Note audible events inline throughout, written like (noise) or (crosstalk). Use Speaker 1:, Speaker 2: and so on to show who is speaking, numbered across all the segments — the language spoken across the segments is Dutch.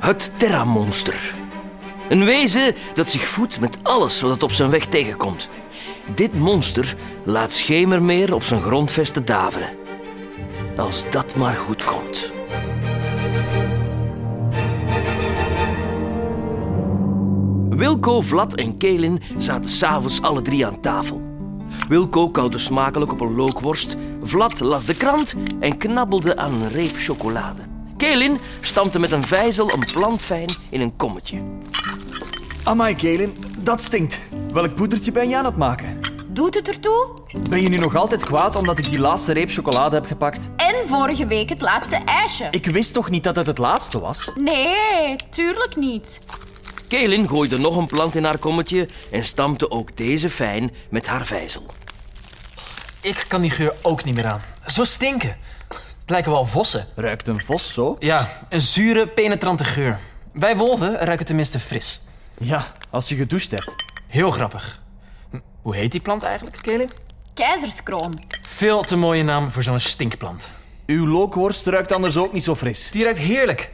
Speaker 1: het Terra-monster. Een wezen dat zich voedt met alles wat het op zijn weg tegenkomt. Dit monster laat schemermeer op zijn grondvesten daveren. Als dat maar goed komt. Wilco, Vlad en Kelin zaten s'avonds alle drie aan tafel. Wilco kauwde smakelijk op een lookworst. Vlad las de krant en knabbelde aan een reep chocolade. Kelin stampte met een vijzel een plantfijn in een kommetje.
Speaker 2: Amai, Kaelin, dat stinkt. Welk poedertje ben je aan het maken?
Speaker 3: Doet het ertoe?
Speaker 2: Ben je nu nog altijd kwaad omdat ik die laatste reep chocolade heb gepakt?
Speaker 3: En vorige week het laatste ijsje.
Speaker 2: Ik wist toch niet dat het het laatste was?
Speaker 3: Nee, tuurlijk niet.
Speaker 1: Kaelin gooide nog een plant in haar kommetje en stampte ook deze fijn met haar vijzel.
Speaker 4: Ik kan die geur ook niet meer aan. Zo stinken. Het lijken wel vossen.
Speaker 2: Ruikt een vos zo?
Speaker 4: Ja, een zure, penetrante geur. Wij wolven ruiken tenminste fris.
Speaker 2: Ja, als je gedoucht hebt.
Speaker 4: Heel grappig. Hm, Hoe heet die plant eigenlijk, Kelly?
Speaker 3: Keizerskroon.
Speaker 4: Veel te mooie naam voor zo'n stinkplant.
Speaker 2: Uw lookworst ruikt anders ook niet zo fris.
Speaker 4: Die ruikt heerlijk.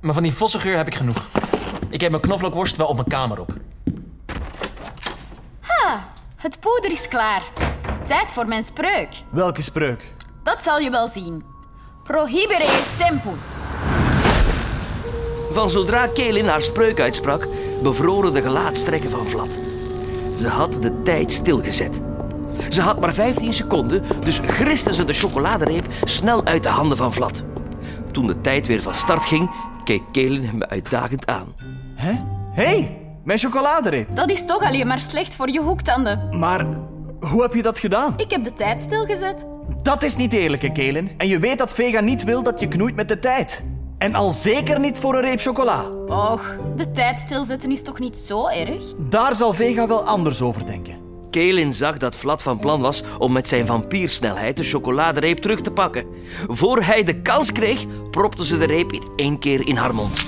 Speaker 4: Maar van die vossengeur heb ik genoeg. Ik heb mijn knoflookworst wel op mijn kamer op.
Speaker 3: Het poeder is klaar. Tijd voor mijn spreuk.
Speaker 2: Welke spreuk?
Speaker 3: Dat zal je wel zien. Prohibere tempus.
Speaker 1: Van zodra Kaelin haar spreuk uitsprak, bevroren de gelaatstrekken van Vlad. Ze had de tijd stilgezet. Ze had maar 15 seconden, dus griste ze de chocoladereep snel uit de handen van Vlad. Toen de tijd weer van start ging, keek Kaelin hem uitdagend aan.
Speaker 2: Hè? Hé, hey, mijn chocoladereep.
Speaker 3: Dat is toch alleen maar slecht voor je hoektanden.
Speaker 2: Maar hoe heb je dat gedaan?
Speaker 3: Ik heb de tijd stilgezet.
Speaker 2: Dat is niet eerlijk, hè, Kaelin. En je weet dat Vega niet wil dat je knoeit met de tijd. En al zeker niet voor een reep chocola.
Speaker 3: Och, de tijd stilzetten is toch niet zo erg?
Speaker 2: Daar zal Vega wel anders over denken.
Speaker 1: Kaelin zag dat Vlad van plan was om met zijn vampiersnelheid de chocoladereep terug te pakken. Voor hij de kans kreeg, propte ze de reep in één keer in haar mond.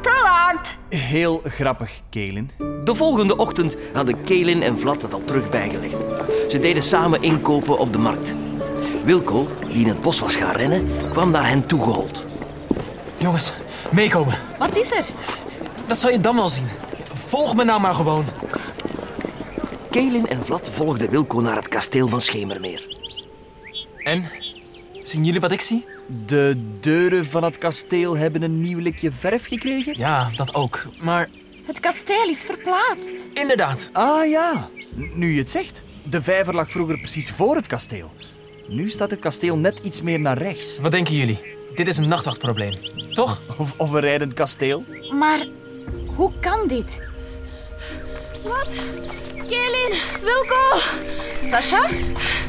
Speaker 3: Talant!
Speaker 2: Heel grappig, Kaelin.
Speaker 1: De volgende ochtend hadden Kaelin en Vlad het al terug bijgelegd. Ze deden samen inkopen op de markt. Wilco, die in het bos was gaan rennen, kwam naar hen toegehold.
Speaker 4: Jongens, meekomen.
Speaker 3: Wat is er?
Speaker 4: Dat zal je dan wel zien. Volg me nou maar gewoon.
Speaker 1: Kaelin en Vlad volgden Wilco naar het kasteel van Schemermeer.
Speaker 4: En? Zien jullie wat ik zie?
Speaker 2: De deuren van het kasteel hebben een nieuw likje verf gekregen?
Speaker 4: Ja, dat ook. Maar
Speaker 3: Het kasteel is verplaatst.
Speaker 4: inderdaad,
Speaker 2: Ah ja, N- nu je het zegt. De vijver lag vroeger precies voor het kasteel. Nu staat het kasteel net iets meer naar rechts.
Speaker 4: wat denken jullie? Dit is een nachtwachtprobleem, toch?
Speaker 2: Of, of een rijdend kasteel.
Speaker 3: Maar hoe kan dit? Wat? Kaelin, Wilco! Sasha,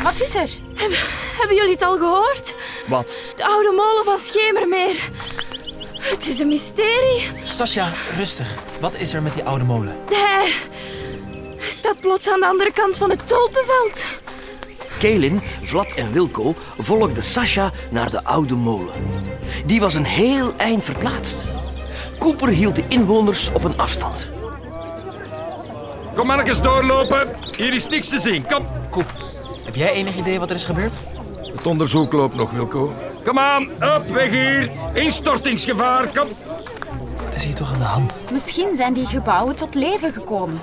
Speaker 3: wat is er?
Speaker 5: Hebben jullie het al gehoord?
Speaker 2: Wat?
Speaker 5: De oude molen van Schemermeer. Het is een mysterie.
Speaker 4: Sascha, rustig. Wat is er met die oude molen?
Speaker 5: Hij hij staat plots aan de andere kant van het tulpenveld.
Speaker 1: Kaelin, Vlad en Wilco volgden Sasha naar de oude molen. Die was een heel eind verplaatst. Cooper hield de inwoners op een afstand.
Speaker 6: Kom maar eens doorlopen. Hier is niks te zien. Kom.
Speaker 4: Koep, heb jij enig idee wat er is gebeurd?
Speaker 6: Het onderzoek loopt nog, Wilco. Kom aan, op, weg hier. Instortingsgevaar, kom.
Speaker 4: Wat is hier toch aan de hand?
Speaker 3: Misschien zijn die gebouwen tot leven gekomen.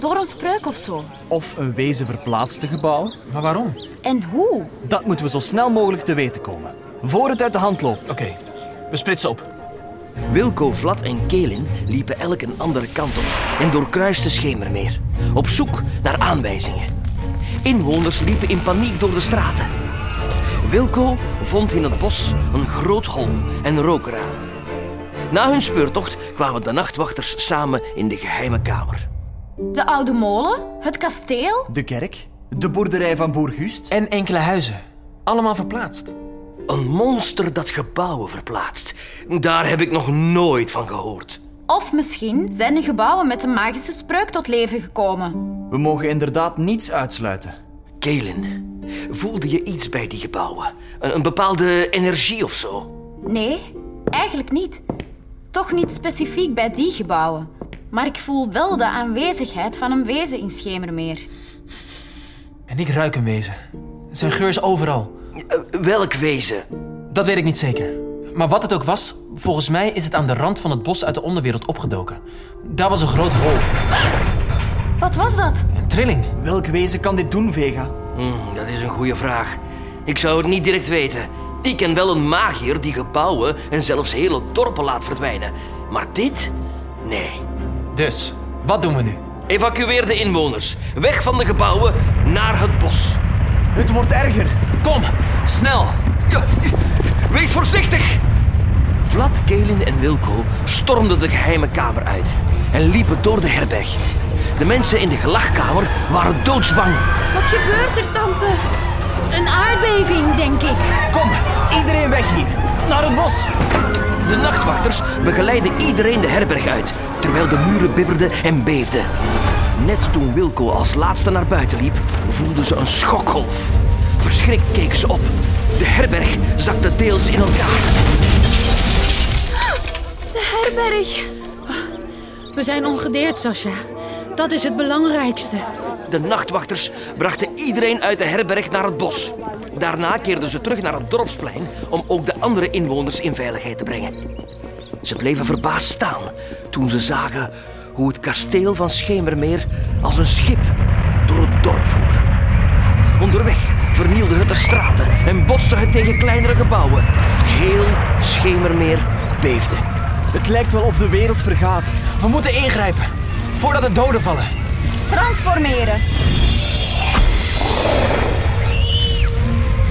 Speaker 3: Door een spreuk of zo.
Speaker 2: Of een wezen verplaatste gebouw?
Speaker 4: Maar waarom? Oké,
Speaker 3: En hoe?
Speaker 2: Dat moeten we zo snel mogelijk te weten komen. Voor het uit de hand loopt.
Speaker 4: we splitsen op.
Speaker 1: Wilco, Vlad en Kelin liepen elk een andere kant op en doorkruisten Schemermeer, op zoek naar aanwijzingen. Inwoners liepen in paniek door de straten. Wilco vond in het bos een groot hol en rook eraan. Na hun speurtocht kwamen de nachtwachters samen in de geheime kamer.
Speaker 3: De oude molen? Het kasteel?
Speaker 2: De kerk, de boerderij van Boer Guust.
Speaker 4: En enkele huizen. Allemaal verplaatst.
Speaker 1: Een monster dat gebouwen verplaatst. Daar heb ik nog nooit van gehoord.
Speaker 3: Of misschien zijn de gebouwen met een magische spreuk tot leven gekomen.
Speaker 2: We mogen inderdaad niets uitsluiten.
Speaker 1: Kelin, voelde je iets bij die gebouwen? Een, een bepaalde energie of zo?
Speaker 3: Nee, eigenlijk niet. Toch niet specifiek bij die gebouwen. Maar ik voel wel de aanwezigheid van een wezen in Schemermeer.
Speaker 4: En ik ruik een wezen. Zijn geur is overal.
Speaker 1: Eh, welk wezen?
Speaker 4: Dat weet ik niet zeker. Maar wat het ook was, volgens mij is het aan de rand van het bos uit de onderwereld opgedoken. Daar was een groot hol,
Speaker 3: Wat was dat?
Speaker 4: een trilling.
Speaker 2: Welk wezen kan dit doen, Vega?
Speaker 1: Hm, dat is een goede vraag. Ik zou het niet direct weten. Ik ken wel een magier die gebouwen en zelfs hele dorpen laat verdwijnen. Maar dit? Nee.
Speaker 4: Dus, wat doen we nu?
Speaker 1: Evacueer de inwoners. Weg van de gebouwen naar het bos.
Speaker 2: Het wordt erger.
Speaker 4: Kom, snel!
Speaker 1: Ja, Wees voorzichtig! Vlad, Kelin en Wilco stormden de geheime kamer uit en liepen door de herberg. De mensen in de gelagkamer waren doodsbang.
Speaker 5: Wat gebeurt er, tante?
Speaker 3: Een aardbeving, denk ik.
Speaker 2: Kom, iedereen weg hier. Naar het bos.
Speaker 1: De nachtwachters begeleidden iedereen de herberg uit, terwijl de muren bibberden en beefden. Net toen Wilco als laatste naar buiten liep, voelden ze een schokgolf. Verschrikt keken ze op. De herberg zakte deels in elkaar.
Speaker 5: De herberg.
Speaker 7: We zijn ongedeerd, Sasha. Dat is het belangrijkste.
Speaker 1: De nachtwachters brachten iedereen uit de herberg naar het bos. Daarna keerden ze terug naar het dorpsplein om ook de andere inwoners in veiligheid te brengen. Ze bleven verbaasd staan toen ze zagen hoe het kasteel van Schemermeer als een schip door het dorp voer. Onderweg vernielde het de straten en botste het tegen kleinere gebouwen. Heel Schemermeer beefde.
Speaker 2: Het lijkt wel of de wereld vergaat.
Speaker 4: We moeten ingrijpen, voordat er doden vallen.
Speaker 3: Transformeren.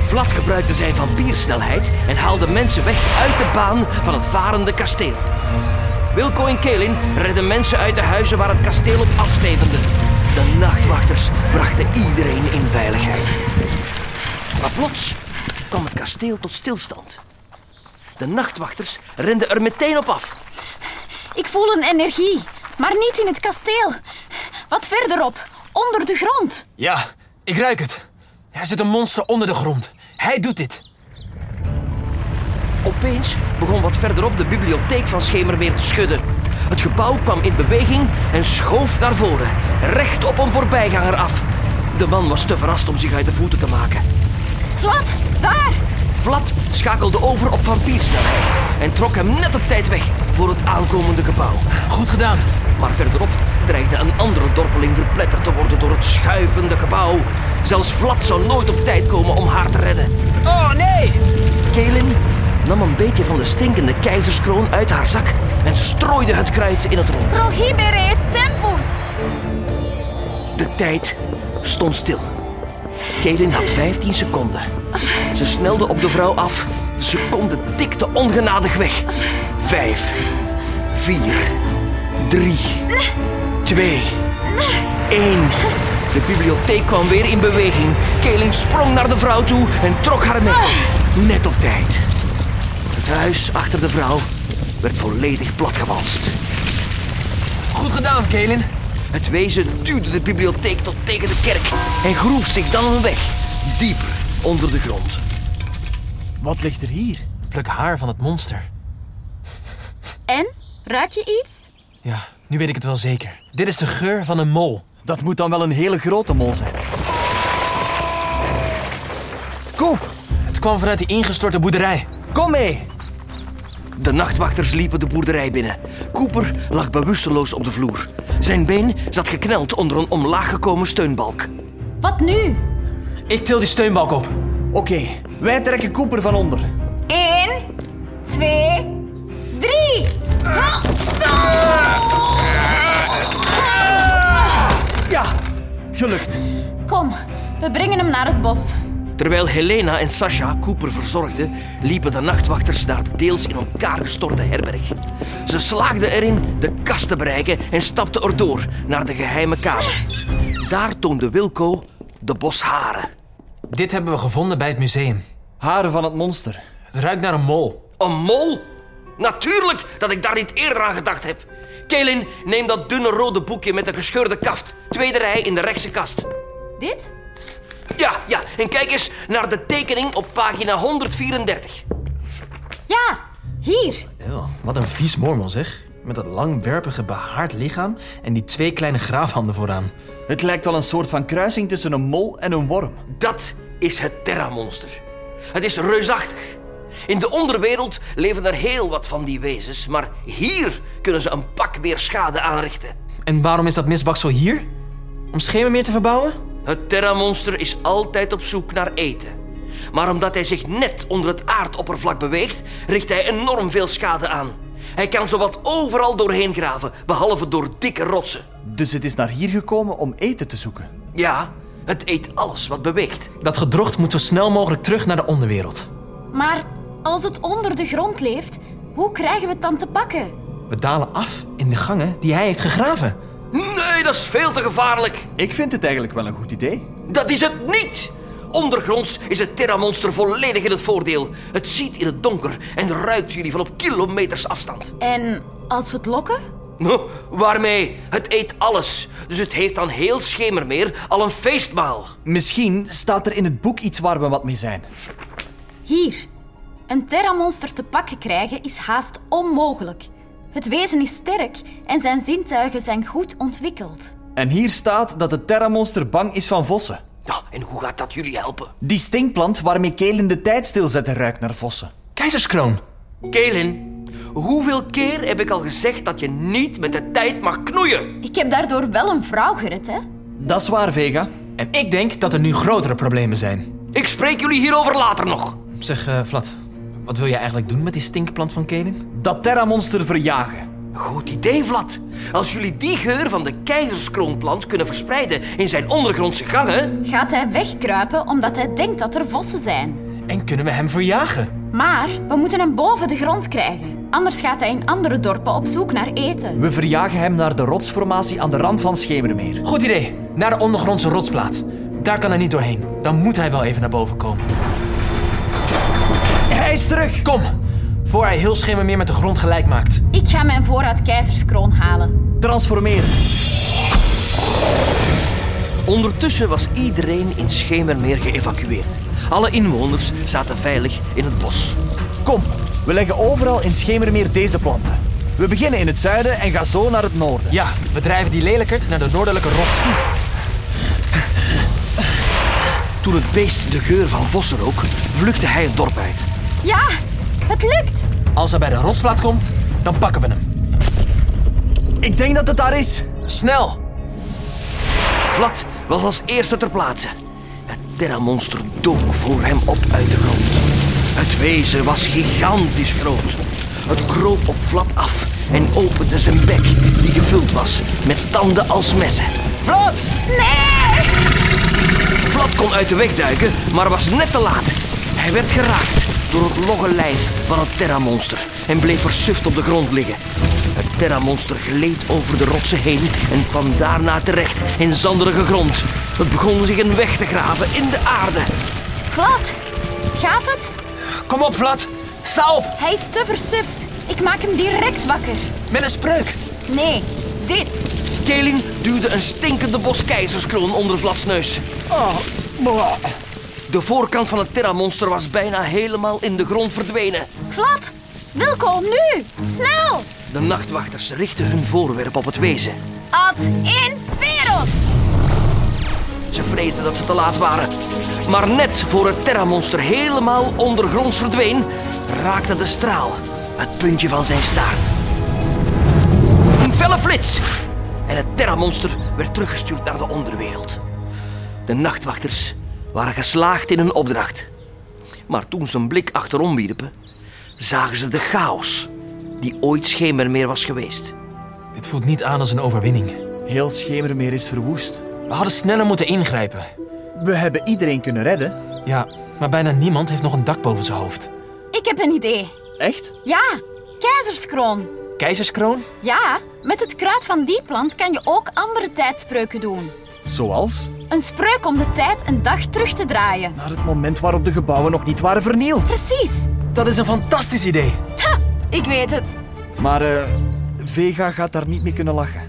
Speaker 1: Vlad gebruikte zijn vampiersnelheid en haalde mensen weg uit de baan van het varende kasteel. Wilco en Kelin redden mensen uit de huizen waar het kasteel op afstevende. De nachtwachters brachten iedereen in veiligheid. Maar plots kwam het kasteel tot stilstand. De nachtwachters renden er meteen op af.
Speaker 3: Ik voel een energie, maar niet in het kasteel. Wat verderop, onder de grond.
Speaker 4: Ja, ik ruik het. Er zit een monster onder de grond. Hij doet dit.
Speaker 1: Opeens begon wat verderop de bibliotheek van Schemermeer te schudden. Het gebouw kwam in beweging en schoof naar voren, recht op een voorbijganger af. De man was te verrast om zich uit de voeten te maken.
Speaker 3: Vlad, daar!
Speaker 1: Vlad schakelde over op vampiersnelheid en trok hem net op tijd weg voor het aankomende gebouw.
Speaker 4: Goed gedaan.
Speaker 1: Maar verderop dreigde een andere dorpeling verpletterd te worden door het schuivende gebouw. Zelfs Vlad zou nooit op tijd komen om haar te redden.
Speaker 4: Oh nee!
Speaker 1: Kelin nam een beetje van de stinkende keizerskroon uit haar zak en strooide het kruid in het rond.
Speaker 3: Prohibere tempus.
Speaker 1: De tijd stond stil. Kelin had 15 seconden. Ze snelde op de vrouw af. De seconde tikte ongenadig weg. Vijf, vier, drie, twee, één. De bibliotheek kwam weer in beweging. Kelin sprong naar de vrouw toe en trok haar mee. Net op tijd. Het huis achter de vrouw werd volledig platgewalst.
Speaker 4: Goed gedaan, Kelin.
Speaker 1: Het wezen duwde de bibliotheek tot tegen de kerk en groef zich dan een weg, dieper onder de grond.
Speaker 2: Wat ligt er hier?
Speaker 4: Pluk haar van het monster.
Speaker 3: En? Ruik je iets?
Speaker 4: Ja, nu weet ik het wel zeker. Dit is de geur van een mol.
Speaker 2: Dat moet dan wel een hele grote mol zijn. Kom,
Speaker 4: Het kwam vanuit die ingestorte boerderij.
Speaker 2: kom mee.
Speaker 1: De nachtwachters liepen de boerderij binnen. Cooper lag bewusteloos op de vloer. Zijn been zat gekneld onder een omlaag gekomen steunbalk.
Speaker 3: Wat nu?
Speaker 4: Ik til die steunbalk op.
Speaker 2: Oké, wij trekken Cooper van onder.
Speaker 3: Eén, twee, drie.
Speaker 2: Ja, gelukt.
Speaker 3: Kom, we brengen hem naar het bos.
Speaker 1: Terwijl Helena en Sasha Cooper verzorgden, liepen de nachtwachters naar de deels in elkaar gestorte herberg. Ze slaagden erin de kast te bereiken en stapten erdoor naar de geheime kamer. Daar toonde Wilco de bosharen.
Speaker 4: Dit hebben we gevonden bij het museum.
Speaker 2: Haren van het monster.
Speaker 4: Het ruikt naar een mol.
Speaker 1: Een mol? Natuurlijk dat ik daar niet eerder aan gedacht heb. Kelin, neem dat dunne rode boekje met de gescheurde kaft. Tweede rij in de rechtse kast.
Speaker 3: Dit?
Speaker 1: Ja, ja, en kijk eens naar de tekening op pagina 134.
Speaker 3: Ja, hier.
Speaker 4: Ew, wat een vies mormel zeg. Met dat langwerpige behaard lichaam en die twee kleine graafhanden vooraan.
Speaker 2: Het lijkt wel een soort van kruising tussen een mol en een worm.
Speaker 1: Dat is het Terra-monster. Het is reusachtig. In de onderwereld leven er heel wat van die wezens, maar hier kunnen ze een pak meer schade aanrichten.
Speaker 4: En waarom is dat misbaksel hier? Om schemermeer te verbouwen?
Speaker 1: Het Terra-monster is altijd op zoek naar eten. Maar omdat hij zich net onder het aardoppervlak beweegt, richt hij enorm veel schade aan. Hij kan zowat overal doorheen graven, behalve door dikke rotsen.
Speaker 2: Dus het is naar hier gekomen om eten te zoeken.
Speaker 1: Ja, het eet alles wat beweegt.
Speaker 4: Dat gedrocht moet zo snel mogelijk terug naar de onderwereld.
Speaker 3: Maar als het onder de grond leeft, hoe krijgen we het dan te pakken?
Speaker 4: We dalen af in de gangen die hij heeft gegraven.
Speaker 1: Nee, dat is veel te gevaarlijk.
Speaker 2: Ik vind het eigenlijk wel een goed idee.
Speaker 1: Dat is het niet! Ondergronds is het Terra-monster volledig in het voordeel. Het ziet in het donker en ruikt jullie van op kilometers afstand.
Speaker 3: En als we het lokken?
Speaker 1: Nou, waarmee? Het eet alles. Dus het heeft aan heel Schemermeer al een feestmaal.
Speaker 2: Misschien staat er in het boek iets waar we wat mee zijn.
Speaker 3: Hier. Een terramonster te pakken krijgen is haast onmogelijk. Het wezen is sterk en zijn zintuigen zijn goed ontwikkeld.
Speaker 2: En hier staat dat het terramonster bang is van vossen.
Speaker 1: Ja, Nou, en hoe gaat dat jullie helpen?
Speaker 2: Die stinkplant waarmee Kelen de tijd stilzet ruikt naar vossen.
Speaker 4: Keizerskroon.
Speaker 1: Kaelin, hoeveel keer heb ik al gezegd dat je niet met de tijd mag knoeien?
Speaker 3: Ik heb daardoor wel een vrouw gered, hè?
Speaker 2: Dat is waar, Vega.
Speaker 4: En ik denk dat er nu grotere problemen zijn.
Speaker 1: Ik spreek jullie hierover later nog.
Speaker 4: Zeg, eh, Vlad, wat wil jij eigenlijk doen met die stinkplant van Kenen?
Speaker 2: Dat terramonster verjagen.
Speaker 1: Goed idee, Vlad. Als jullie die geur van de keizerskroonplant kunnen verspreiden in zijn ondergrondse gangen...
Speaker 3: Gaat hij wegkruipen omdat hij denkt dat er vossen zijn.
Speaker 4: En kunnen we hem verjagen?
Speaker 3: Maar we moeten hem boven de grond krijgen. Anders gaat hij in andere dorpen op zoek naar eten.
Speaker 2: We verjagen hem naar de rotsformatie aan de rand van Schemermeer.
Speaker 4: Goed idee. Naar de ondergrondse rotsplaat. Daar kan hij niet doorheen. Dan moet hij wel even naar boven komen.
Speaker 2: Hij is terug!
Speaker 4: Kom, voor hij heel Schemermeer met de grond gelijk maakt.
Speaker 3: Ik ga mijn voorraad keizerskroon halen.
Speaker 2: Transformeren.
Speaker 1: Ondertussen was iedereen in Schemermeer geëvacueerd. Alle inwoners zaten veilig in het bos.
Speaker 2: Kom, we leggen overal in Schemermeer deze planten. We beginnen in het zuiden en gaan zo naar het noorden.
Speaker 4: Ja, we drijven die lelijkert naar de noordelijke rots.
Speaker 1: Toen het beest de geur van vossen rook, vluchtte hij het dorp uit.
Speaker 3: Ja, het lukt!
Speaker 4: Als hij bij de rotsplaat komt, dan pakken we hem.
Speaker 2: Ik denk dat het daar is.
Speaker 4: Snel!
Speaker 1: Vlad was als eerste ter plaatse. Het terramonster dook voor hem op uit de grond. Het wezen was gigantisch groot. Het kroop op Vlad af en opende zijn bek, die gevuld was met tanden als messen.
Speaker 4: Vlad!
Speaker 1: Vlad kon uit de weg duiken, maar was net te laat. Hij werd geraakt door het logge lijf van het terramonster en bleef versuft op de grond liggen. Het terramonster gleed over de rotsen heen en kwam daarna terecht in zanderige grond. Het begon zich een weg te graven in de aarde.
Speaker 3: Vlad, gaat het?
Speaker 4: Kom op, Vlad! Sta op!
Speaker 3: Hij is te versuft. Ik maak hem direct wakker.
Speaker 4: Met een spreuk!
Speaker 3: Nee, dit.
Speaker 1: Kaelin duwde een stinkende bos keizerskroon onder Vlads neus. De voorkant van het terramonster was bijna helemaal in de grond verdwenen.
Speaker 3: Vlad, Wilco, nu! Snel!
Speaker 1: De nachtwachters richtten hun voorwerp op het wezen.
Speaker 3: Ad in Veros!
Speaker 1: Ze vreesden dat ze te laat waren. Maar net voor het terramonster helemaal ondergronds verdween, raakte de straal het puntje van zijn staart. Een felle flits! En het terramonster werd teruggestuurd naar de onderwereld. De nachtwachters waren geslaagd in hun opdracht. Maar toen ze een blik achterom wierpen, zagen ze de chaos die ooit schemermeer was geweest.
Speaker 4: Dit voelt niet aan als een overwinning.
Speaker 2: Heel Schemermeer is verwoest.
Speaker 4: We hadden sneller moeten ingrijpen.
Speaker 2: We hebben iedereen kunnen redden.
Speaker 4: Ja, maar bijna niemand heeft nog een dak boven zijn hoofd.
Speaker 3: Ik heb een idee.
Speaker 2: Echt?
Speaker 3: Ja, keizerskroon.
Speaker 4: Keizerskroon?
Speaker 3: Ja, met het kruid van die plant kan je ook andere tijdspreuken doen.
Speaker 2: Zoals?
Speaker 3: Een spreuk om de tijd een dag terug te draaien.
Speaker 2: Naar het moment waarop de gebouwen nog niet waren vernield.
Speaker 3: Precies.
Speaker 4: Dat is een fantastisch idee.
Speaker 3: Ik weet het.
Speaker 2: Maar eh, Vega gaat daar niet mee kunnen lachen.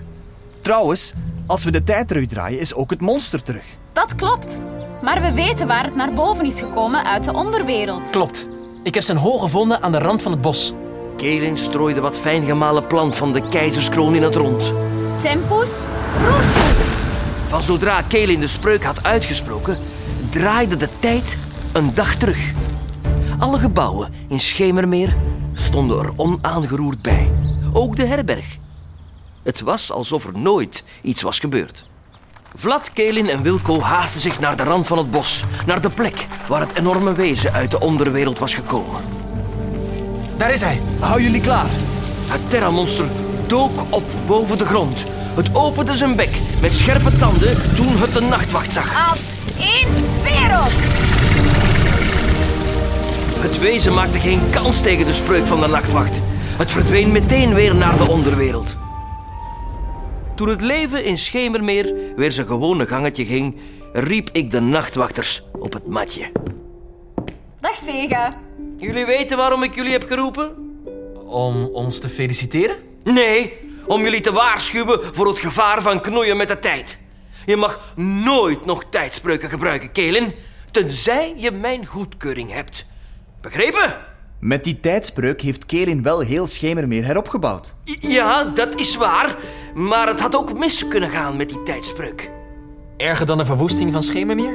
Speaker 2: Trouwens, als we de tijd terugdraaien, is ook het monster terug.
Speaker 3: Dat klopt. Maar we weten waar het naar boven is gekomen uit de onderwereld.
Speaker 4: Klopt. Ik heb zijn hol gevonden aan de rand van het bos.
Speaker 1: Kaelin strooide wat fijngemalen plant van de keizerskroon in het rond.
Speaker 3: Tempus Rursus.
Speaker 1: Van zodra Kaelin de spreuk had uitgesproken, draaide de tijd een dag terug. Alle gebouwen in Schemermeer stonden er onaangeroerd bij. Ook de herberg. Het was alsof er nooit iets was gebeurd. Vlad, Kelin en Wilco haasten zich naar de rand van het bos. Naar de plek waar het enorme wezen uit de onderwereld was gekomen.
Speaker 4: Daar is hij.
Speaker 2: Hou jullie klaar.
Speaker 1: Het terramonster dook op boven de grond. Het opende zijn bek met scherpe tanden toen het de nachtwacht zag.
Speaker 3: Ad in Veros.
Speaker 1: Het wezen maakte geen kans tegen de spreuk van de nachtwacht. Het verdween meteen weer naar de onderwereld. Toen het leven in Schemermeer weer zijn gewone gangetje ging, riep ik de nachtwachters op het matje.
Speaker 3: Dag Vega.
Speaker 1: Jullie weten waarom ik jullie heb geroepen?
Speaker 4: Om ons te feliciteren?
Speaker 1: Nee, om jullie te waarschuwen voor het gevaar van knoeien met de tijd. Je mag nooit nog tijdspreuken gebruiken, Kelen, tenzij je mijn goedkeuring hebt. Begrepen?
Speaker 2: Met die tijdspreuk heeft Kelin wel heel Schemermeer heropgebouwd.
Speaker 1: Ja, dat is waar. Maar het had ook mis kunnen gaan met die tijdspreuk.
Speaker 4: Erger dan de verwoesting van Schemermeer?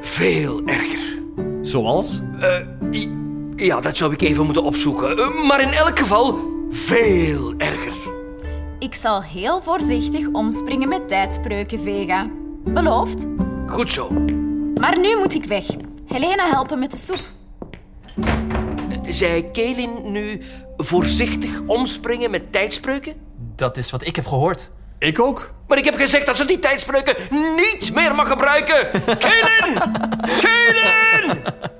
Speaker 1: Veel erger.
Speaker 2: Zoals?
Speaker 1: Eh, I- Ja, dat zou ik even moeten opzoeken. Eh, Maar in elk geval veel erger.
Speaker 3: Ik zal heel voorzichtig omspringen met tijdspreuken, Vega. Beloofd?
Speaker 1: Goed zo.
Speaker 3: Maar nu moet ik weg. Helena helpen met de soep.
Speaker 1: Zei Kelin nu voorzichtig omspringen met tijdspreuken?
Speaker 4: Dat is wat ik heb gehoord.
Speaker 2: Ik ook.
Speaker 1: Maar ik heb gezegd dat ze die (laughs) tijdspreuken niet meer mag gebruiken. Kelin! Kelin!